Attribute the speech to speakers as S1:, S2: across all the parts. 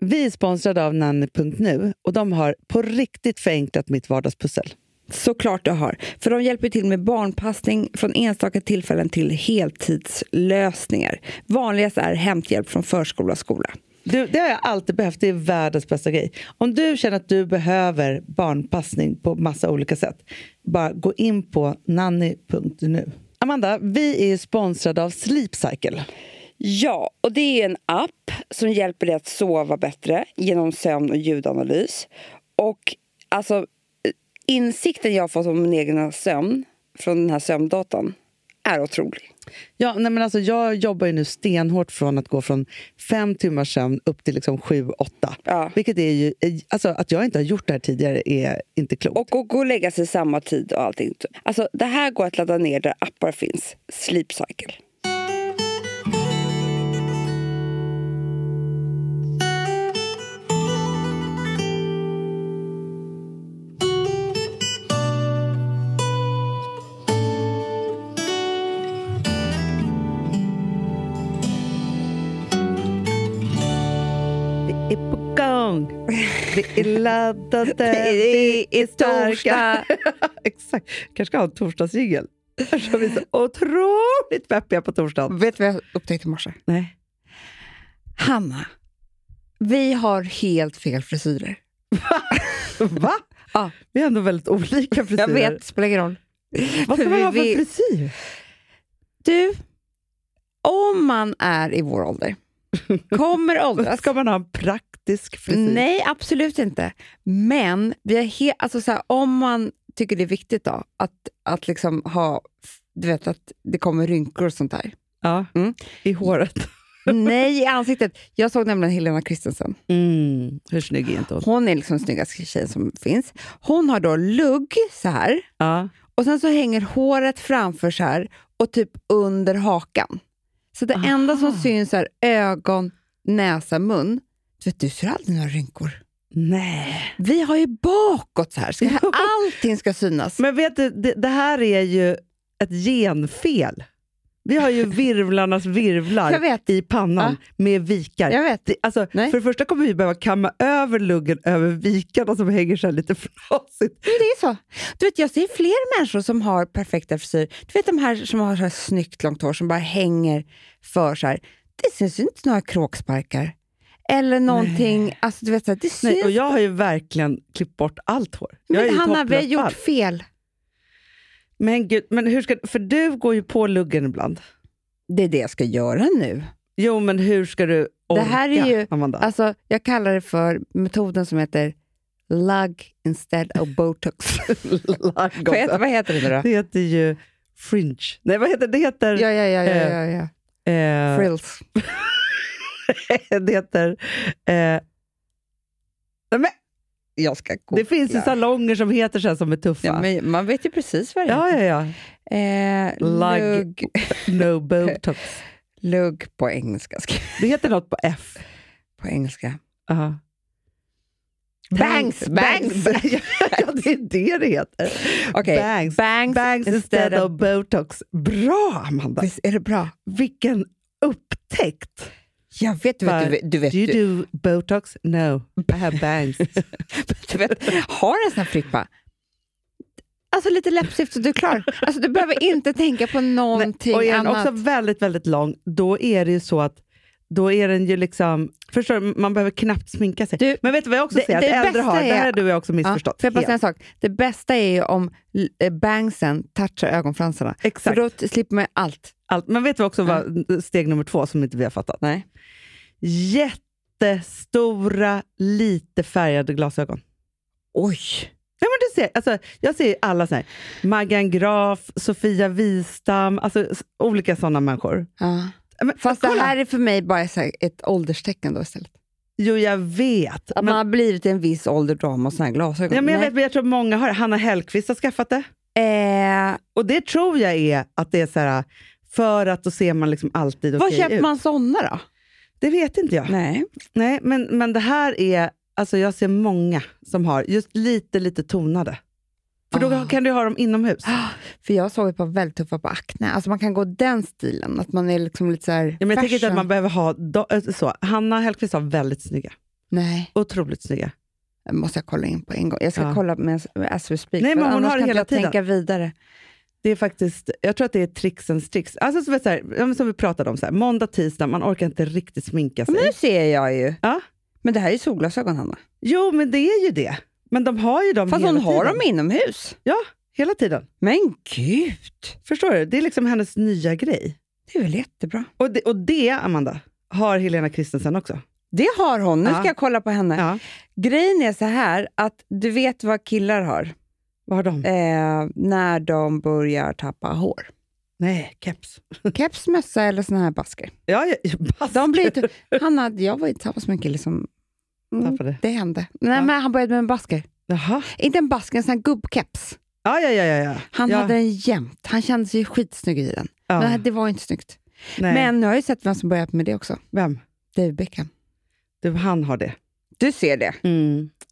S1: Vi är sponsrade av nanny.nu och de har på riktigt förenklat mitt vardagspussel.
S2: Såklart du har, för de hjälper till med barnpassning från enstaka tillfällen till heltidslösningar. Vanligast är hämthjälp från förskola och skola.
S1: Du, det har jag alltid behövt. Det är världens bästa grej. Om du känner att du behöver barnpassning på massa olika sätt, bara gå in på nanny.nu. Amanda, vi är sponsrade av Sleep Cycle.
S2: Ja, och det är en app som hjälper dig att sova bättre genom sömn och ljudanalys. Och alltså, insikten jag fått om min egen sömn från den här sömndatan är otrolig.
S1: Ja, nej men alltså, jag jobbar ju nu stenhårt från att gå från fem timmars sömn upp till liksom sju, åtta.
S2: Ja.
S1: Vilket är ju, alltså, att jag inte har gjort det här tidigare är inte klokt.
S2: Och att gå och lägga sig samma tid och allting. Alltså, det här går att ladda ner där appar finns. Sleep Cycle.
S1: Vi är på gång! Vi är laddade,
S2: Det är
S1: starka. Exakt. kanske ska ha en torsdagsjingel. Eftersom vi är så otroligt peppiga på torsdagen.
S2: Vet du vad jag upptäckte i morse?
S1: Nej.
S2: Hanna, vi har helt fel frisyrer.
S1: Va?
S2: Ja.
S1: Vi är ändå väldigt olika frisyrer.
S2: Jag vet, spelar ingen roll.
S1: Vad ska
S2: För
S1: man
S2: vi-
S1: ha för
S2: vi-
S1: frisyr?
S2: Du, om man är i vår ålder, kommer åldras.
S1: Ska man ha en praktisk frisyr?
S2: Nej, absolut inte. Men vi är he- alltså så här, om man tycker det är viktigt då, att, att liksom ha, du vet att det kommer rynkor och sånt där.
S1: Ja.
S2: Mm.
S1: I håret.
S2: Nej, i ansiktet. Jag såg nämligen Helena Christensen.
S1: Mm. Hur snygg är inte hon?
S2: Hon är liksom snyggaste tjejen som finns. Hon har då lugg så här.
S1: Ja.
S2: Och sen så hänger håret framför så här och typ under hakan. Så det
S1: Aha.
S2: enda som syns är ögon, näsa, mun. Du vet, du ser aldrig några rynkor.
S1: Nej.
S2: Vi har ju bakåt så här. Ska, allting ska synas.
S1: Men vet du, det, det här är ju ett genfel. Vi har ju virvlarnas
S2: Jag
S1: virvlar
S2: vet.
S1: i pannan med vikar.
S2: Jag vet.
S1: Det, alltså,
S2: Ah. Nej.
S1: för det första kommer vi behöva kamma över luggen över vikarna som hänger så här lite frasigt.
S2: Men det är så. Du vet, jag ser fler människor som har perfekta frisyrer. Du vet de här som har så här snyggt långt hår som bara hänger för så här. Det syns ju inte några kråksparkar. Eller någonting. Alltså, du vet, så här, det syns.
S1: Nej, och jag har ju verkligen klippt bort allt hår. Jag är
S2: men
S1: ju
S2: Hanna, vi har
S1: topplös
S2: gjort
S1: allt.
S2: fel.
S1: Men gud, men hur ska, för du går ju på luggen ibland.
S2: Det är det jag ska göra nu.
S1: Jo, men hur ska du orka,
S2: här är ju-
S1: Amanda?
S2: Alltså, jag kallar det för metoden som heter lug instead of botox. vad, heter, vad heter det nu då?
S1: det heter ju fringe. Nej, vad heter det? Heter,
S2: Ja, ja, ja, ja, ja, ja.
S1: eh,
S2: Frills.
S1: det heter... Eh, nej, men,
S2: Jag ska gå.
S1: det finns ju salonger som heter så här som är tuffa.
S2: ja, men Man vet ju precis vad det
S1: ja, ja, ja.
S2: är. Eh,
S1: Lug.
S2: lugg,
S1: No botox.
S2: lugg på engelska. ska-
S1: Det heter något på F.
S2: På engelska.
S1: Aha.
S2: Bangs, bangs.
S1: ja, det är det det heter.
S2: Okej.
S1: Bangs.
S2: Bangs,
S1: Bangs instead of botox. Bra, Amanda!
S2: Visst är det bra?
S1: Vilken upptäckt!
S2: Jag vet, du vet, du vet, du vet,
S1: Do you
S2: du,
S1: do botox? No, I have bangs.
S2: du vet har en sån här frippa. Alltså lite läppstift och du är klar. Alltså, du behöver inte tänka på någonting
S1: och är den
S2: annat.
S1: också väldigt, väldigt lång, då är det ju så att då är den ju liksom... Förstår du? Man behöver knappt sminka sig.
S2: Du,
S1: Men vet du vad jag också
S2: det-
S1: ser att
S2: det
S1: äldre
S2: bästa
S1: har? Det här
S2: är-
S1: har du och jag också
S2: Ja,
S1: missförstått.
S2: får jag bara säga en
S1: helt.
S2: sak? Det bästa är ju om eh, bangsen touchar ögonfransarna. För
S1: Exakt.
S2: då t- slipper man allt.
S1: Allt. Men vet du också
S2: Ja.
S1: vad steg nummer två som inte vi har fattat?
S2: Nej.
S1: Jättestora, lite färgade glasögon.
S2: Oj!
S1: Ja, men du ser, alltså, jag ser ju alla så här. Maggan Graf, Sofia Wistam, alltså, s- olika sådana människor.
S2: Ja.
S1: Ja, Men,
S2: Fast
S1: kolla.
S2: det här är för mig bara så här ett ålderstecken då istället.
S1: Jo, jag vet.
S2: Att man
S1: Men,
S2: har blivit i en viss ålder då har man såna här glasögon.
S1: ja, men jag,
S2: Nej.
S1: vet men jag tror många har Hanna Hellquist har skaffat det.
S2: Eh,
S1: Och det tror jag är att det är så här, för att då ser man liksom alltid
S2: Var
S1: okej
S2: köper
S1: ut.
S2: man såna då?
S1: Det vet inte jag.
S2: Nej.
S1: Nej, men, men det här är, alltså jag ser många som har just lite, lite tonade. För då
S2: Ah.
S1: kan du ha dem inomhus.
S2: För jag såg ett par väldigt tuffa på Acne. Alltså man kan gå den stilen, att man är liksom lite så här
S1: Ja, men jag tänker inte att
S2: fashion.
S1: eh, man behöver ha do, äh, så. Hanna Hellquist har väldigt snygga.
S2: Nej,
S1: Otroligt snygga.
S2: det måste jag kolla in på en gång. Jag ska
S1: Ja.
S2: kolla med as we speak.
S1: Nej, men hon
S2: annars
S1: har det
S2: kan
S1: hela
S2: inte
S1: tiden.
S2: jag tänka vidare.
S1: Det är faktiskt, jag tror att det är tricksens tricks. Alltså som, är så här, ja, men som vi pratade om, så här, måndag, tisdag, man orkar inte riktigt sminka sig.
S2: Men nu ser jag ju.
S1: Ja.
S2: Men det här är ju solglasögon, Hanna.
S1: Jo, men det är ju det. Men de har ju dem
S2: Fast
S1: hela
S2: hon har
S1: tiden.
S2: dem inomhus.
S1: Ja, hela tiden.
S2: Men gud,
S1: Förstår du? Det är liksom hennes nya grej.
S2: det är väl jättebra.
S1: Och det, och det Amanda, har Helena Kristensen också.
S2: Det har hon. Nu
S1: Ja.
S2: ska jag kolla på henne.
S1: Ja.
S2: Grejen är så här att du vet vad killar har
S1: Vad har de?
S2: eh, när de börjar tappa hår.
S1: Nej, keps.
S2: Keps, mössa eller såna här basker.
S1: Ja, ja, ja,
S2: De blir inte, Hanna, jag var ju tillsammans med en kille som... Mm,
S1: Tappade.
S2: det hände. Nej,
S1: Ja.
S2: men han började med en basker.
S1: Jaha.
S2: Inte en basker, en sån här gubbkeps.
S1: Ja, ja, ja. ja, ja.
S2: Han
S1: ja,
S2: hade den jämt. Han kände sig skitsnygg i den.
S1: ja.
S2: Men det var inte snyggt.
S1: Nej.
S2: Men nu har jag ju sett vem som börjat med det också.
S1: Vem?
S2: David Beckham.
S1: Du, han har det.
S2: Du ser det.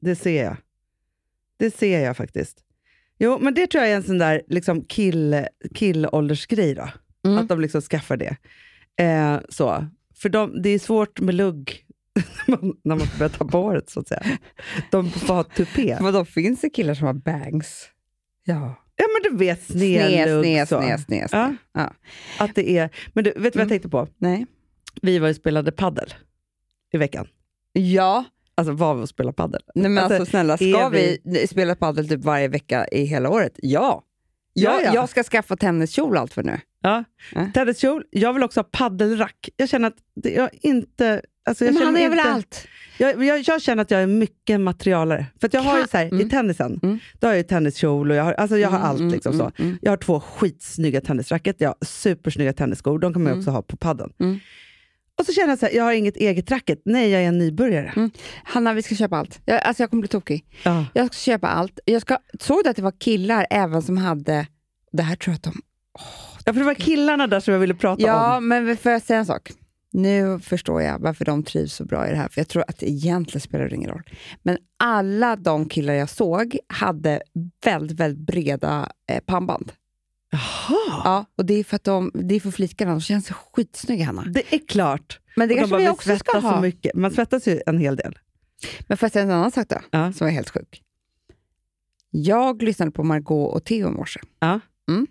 S1: Det ser jag. Det ser jag faktiskt. Jo, men det tror jag är en sån där liksom kill, killåldersgrej då.
S2: Mm.
S1: Att de liksom skaffar det. Eh, så. För de, det är svårt med lugg när man- när man börjar tappa håret så att säga. De får ha tupé.
S2: Vadå, finns det killar som har bangs? Ja.
S1: Ja men du vet snedlugg.
S2: Sned,
S1: så.
S2: sned, sned, sned.
S1: Ja.
S2: Ja.
S1: Att det är, men du, vet du vad jag
S2: Mm.
S1: tänkte på?
S2: Nej.
S1: Vi var ju och spelade paddel i veckan.
S2: Ja,
S1: Alltså var vi och spelade paddel.
S2: nej men alltså,
S1: Alltså,
S2: snälla, ska
S1: är
S2: vi,
S1: vi-
S2: spela padel typ varje vecka i hela året? Ja. Jag,
S1: Ja, ja.
S2: jag ska skaffa tenniskjol och allt för nu.
S1: Ja.
S2: Ja.
S1: Tenniskjol, jag vill också ha paddelrack. Jag känner att det, jag inte... Alltså jag
S2: Men
S1: känner
S2: han
S1: mig
S2: är väl
S1: inte,
S2: allt?
S1: Jag, jag, jag känner att jag är mycket materialare. För att jag har ju så här,
S2: Mm.
S1: i tennisen,
S2: Mm.
S1: då har jag ju tenniskjol och jag har, alltså jag har
S2: Mm, mm,
S1: allt. Liksom,
S2: mm,
S1: så.
S2: mm.
S1: Jag har två skitsnygga tennisracket, jag har supersnygga tennisskor, de kan man ju
S2: Mm.
S1: också ha på padden.
S2: Mm.
S1: Och så känner jag så här, jag har inget eget racket, nej jag är en nybörjare.
S2: Mm. Hanna, vi ska köpa allt. Jag, alltså jag kommer bli tokig.
S1: Ja.
S2: Jag ska köpa allt. Jag ska, såg du att det var killar även som hade... Det här tror jag att de...
S1: ja, för det var killarna där som jag ville prata
S2: Ja,
S1: om.
S2: men får jag säga en sak? Nu förstår jag varför de trivs så bra i det här, för jag tror att det egentligen spelar det ingen roll. Men alla de killar jag såg hade väldigt, väldigt breda eh, pannband.
S1: Jaha,
S2: Ja, och det är för att de, det är för flickorna, de känns skitsnygga Hanna.
S1: det är klart.
S2: Men det
S1: Och de
S2: kanske
S1: bara,
S2: vi
S1: vi
S2: också ska
S1: svettas så
S2: ha.
S1: mycket. Man svettas ju en hel del.
S2: Men får jag säga en annan sak då,
S1: Ja.
S2: som var helt sjuk? Jag lyssnade på Margot och Theo i morse.
S1: Ja.
S2: Mm.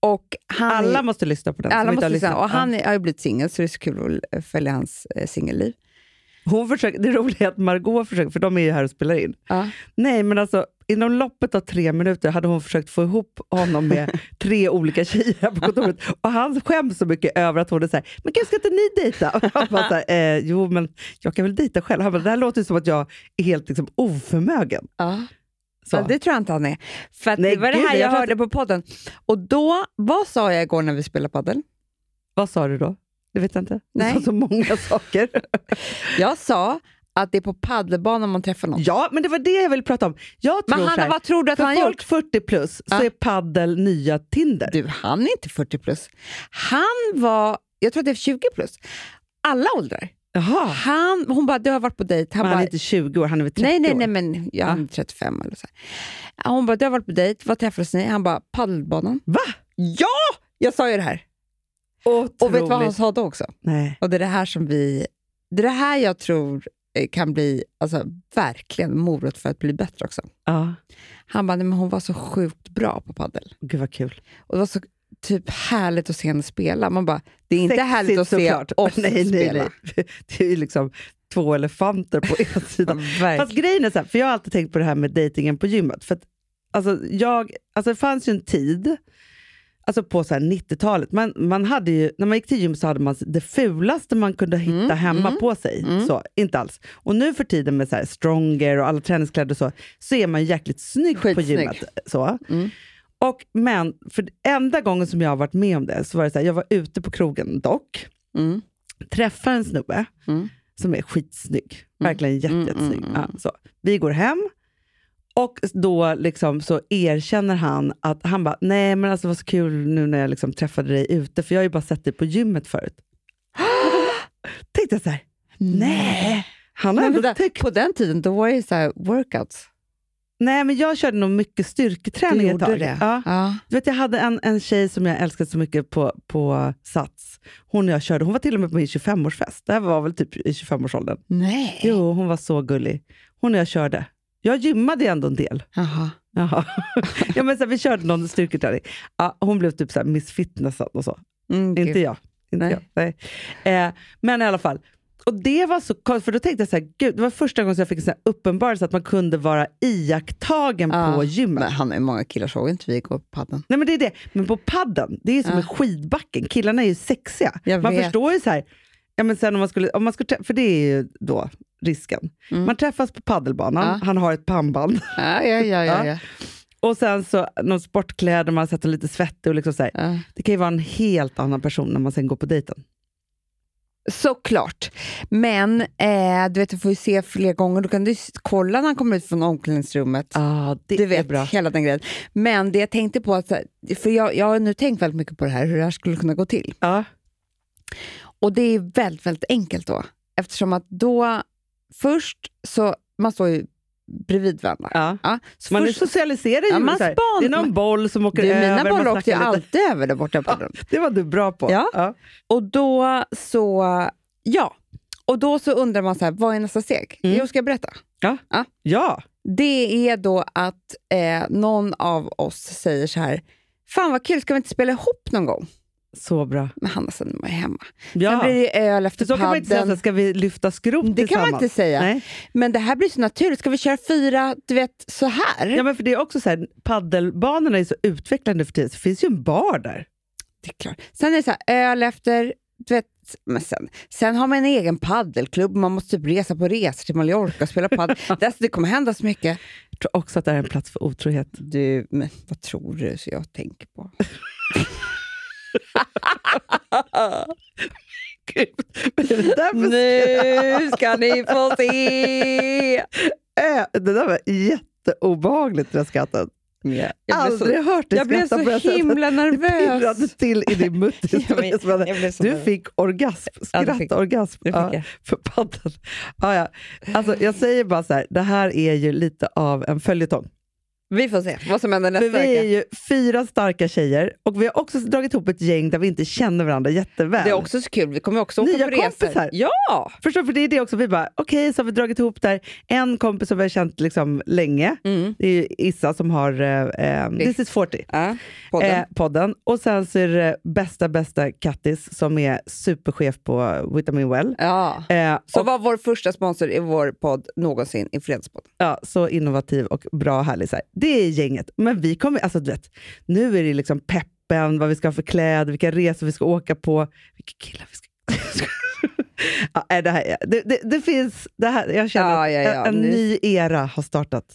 S2: Och han
S1: Alla måste lyssna på den. som
S2: Alla
S1: inte
S2: måste
S1: har
S2: lyssna.
S1: lyssnat.
S2: Och han är, har ju blivit singel, så det är så kul att följa hans eh, singelliv.
S1: Ja. Hon försöker, det roliga är att Margot försöker, för de är ju här och spelar in. Nej, men alltså inom loppet av tre minuter hade hon försökt få ihop honom med tre olika tjejer här på kontoret. Och han skäms så mycket över att hon är så här, men gud ska inte ni dejta? Och han bara så här, eh, jo men jag kan väl dejta själv. Han bara, det här låter ju som att jag är helt liksom, oförmögen.
S2: Ja.
S1: Så.
S2: Ja, det tror jag inte han är. För att
S1: Nej,
S2: det var det
S1: gud,
S2: här jag,
S1: jag tror
S2: hörde på podden. Och då, vad sa jag igår när vi spelade padel?
S1: Vad sa du då? Det vet jag inte.
S2: Nej.
S1: Du sa så många saker.
S2: Jag sa att det är på paddelbanan man träffar någon.
S1: ja, men det var det jag ville prata om. Jag tror
S2: Men
S1: så
S2: Hanna,
S1: här,
S2: vad tror du att
S1: för
S2: han har
S1: folk
S2: gjort?
S1: 40 plus så
S2: Ja.
S1: är paddel nya Tinder.
S2: Du, han är inte 40 plus. Han var, jag tror att det är 20 plus. Alla åldrar.
S1: Jaha,
S2: Han, hon bara, du har varit på dejt. Han
S1: men han
S2: bara,
S1: är inte 20 år, han är väl 30
S2: Nej, nej, nej,
S1: år?
S2: men jag är 35 eller så. här. Hon bara, du har varit på dejt, vad träffades ni? Han bara, paddelbanan.
S1: Va?
S2: Ja! Jag sa ju det här.
S1: Otroligt.
S2: Och vet du vad han sa då också?
S1: Nej.
S2: Och det är det här som vi... Det är det här jag tror eh, kan bli alltså, verkligen morot för att bli bättre också.
S1: Ja.
S2: Han bara, nej, men hon var så sjukt bra på paddel.
S1: Gud vad kul.
S2: Och det var så typ härligt att se henne spela. Man bara, det är inte
S1: Sexigt
S2: härligt att se
S1: såklart.
S2: oss
S1: nej, nej,
S2: spela.
S1: Nej. Det är ju liksom två elefanter på ena sidan. Fast grejen är så här, för jag har alltid tänkt på det här med dejtingen på gymmet. För att, alltså, jag, alltså, det fanns ju en tid, alltså på så här 90-talet, man, man hade ju, när man gick till gym så hade man det fulaste man kunde hitta
S2: Mm,
S1: hemma
S2: mm,
S1: på sig.
S2: mm.
S1: Så, inte alls. Och nu för tiden med så här stronger och alla träningskläder och så, så är man ju jäkligt snygg på
S2: Skitsnygg.
S1: gymmet. Så.
S2: Mm.
S1: Och, men, för enda gången som jag har varit med om det, så var det så här, jag var ute på krogen dock,
S2: Mm.
S1: träffar en snubbe
S2: Mm.
S1: som är skitsnygg. Verkligen jätte,
S2: Mm,
S1: jättesnygg.
S2: mm, mm.
S1: Ja, så. Vi går hem och då liksom så erkänner han att han bara, nej men alltså vad så kul nu när jag liksom träffade dig ute, för jag har ju bara sett dig på gymmet förut. Tänkte jag så här, nej, han har
S2: Men
S1: ändå
S2: vänta,
S1: tyckt...
S2: på den tiden då var det ju så här workouts.
S1: Nej, men jag körde nog mycket styrketräning
S2: Du
S1: ett tag.
S2: gjorde det?
S1: Ja.
S2: Ja.
S1: Du vet, jag hade en, en tjej som jag älskade så mycket på, på Sats. Hon och jag körde, hon var till och med på min 25-årsfest. Det här var väl typ i 25-årsåldern.
S2: Nej.
S1: Jo, hon var så gullig. Hon och jag körde. Jag gymmade ju ändå en del.
S2: Jaha.
S1: Jaha. ja, men så här, vi körde någon styrketräning. Ja, hon blev typ så här Miss Fitness och så.
S2: Mm, gud.
S1: Inte jag. Inte
S2: Nej.
S1: Jag. Nej. Eh, men i alla fall. Och det var så konstigt, för då tänkte jag så här, gud, det var första gången som jag fick en sån här uppenbarelse att man kunde vara iakttagen
S2: Ja,
S1: på gymmet.
S2: Men han är många killar såg inte vi gå på padden.
S1: Nej men det är det, men på padden, det är ju som
S2: Ja.
S1: med skidbacken, killarna är ju sexiga.
S2: Jag
S1: man
S2: vet.
S1: förstår ju så här, ja, men sen om man skulle, om man skulle trä- för det är ju då risken.
S2: Mm.
S1: Man träffas på paddelbanan,
S2: Ja.
S1: han har ett pannband
S2: Ja, ja,
S1: Ja.
S2: ja. ja, ja.
S1: och sen så någon sportkläder, man har sett honom lite svettig och liksom så här.
S2: ja.
S1: Det kan ju vara en helt annan person när man sen går på dejten.
S2: Såklart. Men eh, du vet, du får ju se fler gånger. Du kan du s- kolla när han kommer ut från omklädningsrummet.
S1: Ah, det
S2: du vet,
S1: är bra.
S2: hela den grejen. Men det jag tänkte på, att, så här- för jag, jag har nu tänkt väldigt mycket på det här, hur det här skulle kunna gå till.
S1: Ja.
S2: Och det är väldigt, väldigt enkelt då. Eftersom att då, först så, man står ju bredvid varandra.
S1: Ja.
S2: Ja, så
S1: Man är
S2: först,
S1: socialiserad
S2: Ja,
S1: ju.
S2: man
S1: så här.
S2: span-
S1: det är någon
S2: man-
S1: boll som åker
S2: du,
S1: över.
S2: mina
S1: man
S2: bollar åkte ju
S1: snackar lite.
S2: alltid över där borta på den.
S1: Det var du bra på.
S2: Ja. Och då så, ja. Och då så undrar man så här, vad är nästa steg?
S1: Mm.
S2: Jo, ska jag berätta?
S1: Ja.
S2: Det är då att eh, någon av oss säger så här, fan vad kul, ska vi inte spela ihop någon gång?
S1: så bra.
S2: Men Hanna, sen är man ju hemma. Sen
S1: Ja.
S2: blir det öl
S1: För
S2: efter
S1: så kan man inte säga, så här,
S2: padden.
S1: ska vi lyfta skrot
S2: Det kan man inte säga.
S1: Nej.
S2: Men det här blir så naturligt. Ska vi köra fyra, du vet, så här?
S1: Ja, men för det är också så här, paddelbanorna är så utvecklande för tiden, så det finns ju en bar där.
S2: Det är klart. Sen är det så här, öl efter, du vet, men sen, sen har man en egen paddelklubb. Man måste typ resa på resor till Mallorca och spela paddel. det, alltså, det kommer hända så mycket.
S1: Jag tror också att det här är en plats för otrohet.
S2: Du, men vad tror du så jag tänker på?
S1: Gud, vad är det där för
S2: Nu ska ni få se!
S1: Äh, det där var jätteobehagligt, det där skrattet.
S2: Jag blev
S1: Aldrig
S2: så,
S1: hört dig
S2: jag blev
S1: skratta på det här
S2: så
S1: sättet.
S2: himla
S1: pirrade
S2: nervös.
S1: till i din muttis.
S2: Ja, men- jag blev så
S1: du
S2: nervös.
S1: fick orgasm,
S2: Ja, det
S1: skratt,
S2: fick-
S1: orgasm
S2: det fick
S1: ja,
S2: jag.
S1: för padden. Ja, ja. Alltså, jag säger bara så här, det här är ju lite av en följetong.
S2: Vi får se vad som händer
S1: För
S2: nästa
S1: vi är
S2: vecka.
S1: ju fyra starka tjejer och vi har också dragit ihop ett gäng där vi inte känner varandra jätteväl.
S2: Det är också så kul. Vi kommer också åka
S1: Nya
S2: på resor.
S1: kompisar.
S2: Ja!
S1: Förstår du? För det är det också, vi bara okej, så har vi dragit ihop där en kompis som vi har känt liksom länge.
S2: Mm.
S1: Det är ju Issa som har eh, eh, This is 40.
S2: ja podden.
S1: Eh, podden. Och sen så är det bästa, bästa Kattis som är superchef på Vitamin Well.
S2: ja.
S1: Eh,
S2: Så
S1: och,
S2: var vår första sponsor i vår podd någonsin i Fredagspodden.
S1: ja, så innovativ och bra och härlig. Så här. Det är gänget. Men vi kommer, alltså du vet, nu är det liksom peppen, vad vi ska ha för kläder, vilka resor vi ska åka på, vilka killar vi ska... ja, nej, det, här, det, det, det finns, det här, jag känner
S2: Ja,
S1: att
S2: ja, ja,
S1: en, en
S2: nu-
S1: ny era har startat.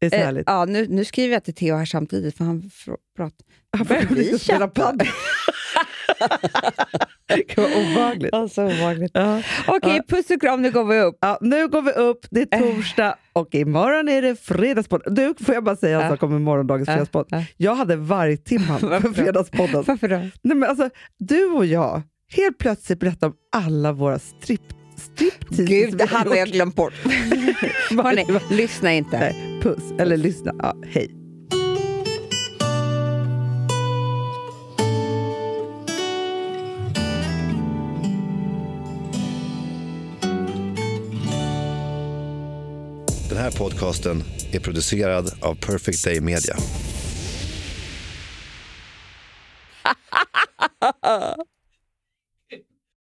S1: Det är så härligt.
S2: Eh, ja, nu, nu skriver jag till Theo här samtidigt för han frå- pratar.
S1: Han får
S2: vi
S1: inte spela
S2: köpa?
S1: padel. det kan vara obehagligt.
S2: Alltså, obehagligt.
S1: Ja.
S2: Okej, puss och kram, nu går vi upp.
S1: Ja, nu går vi upp, det är torsdag och imorgon är det fredagspodden. Du, får jag bara säga en
S2: Ja.
S1: sak om morgondagens
S2: Ja,
S1: fredagspodd?
S2: ja.
S1: Jag hade vargtimman för
S2: Varför?
S1: fredagspodden.
S2: Varför då?
S1: Nej, men alltså, du och jag, helt plötsligt berättar om alla våra strip, striptease
S2: Gud, det
S1: vi har
S2: hade jag
S1: gjort.
S2: glömt bort. Hörrni,
S1: Varje-
S2: lyssna inte.
S1: Nej, Puss, eller lyssna. Ja, hej.
S3: Den här podcasten är producerad av Perfect Day Media.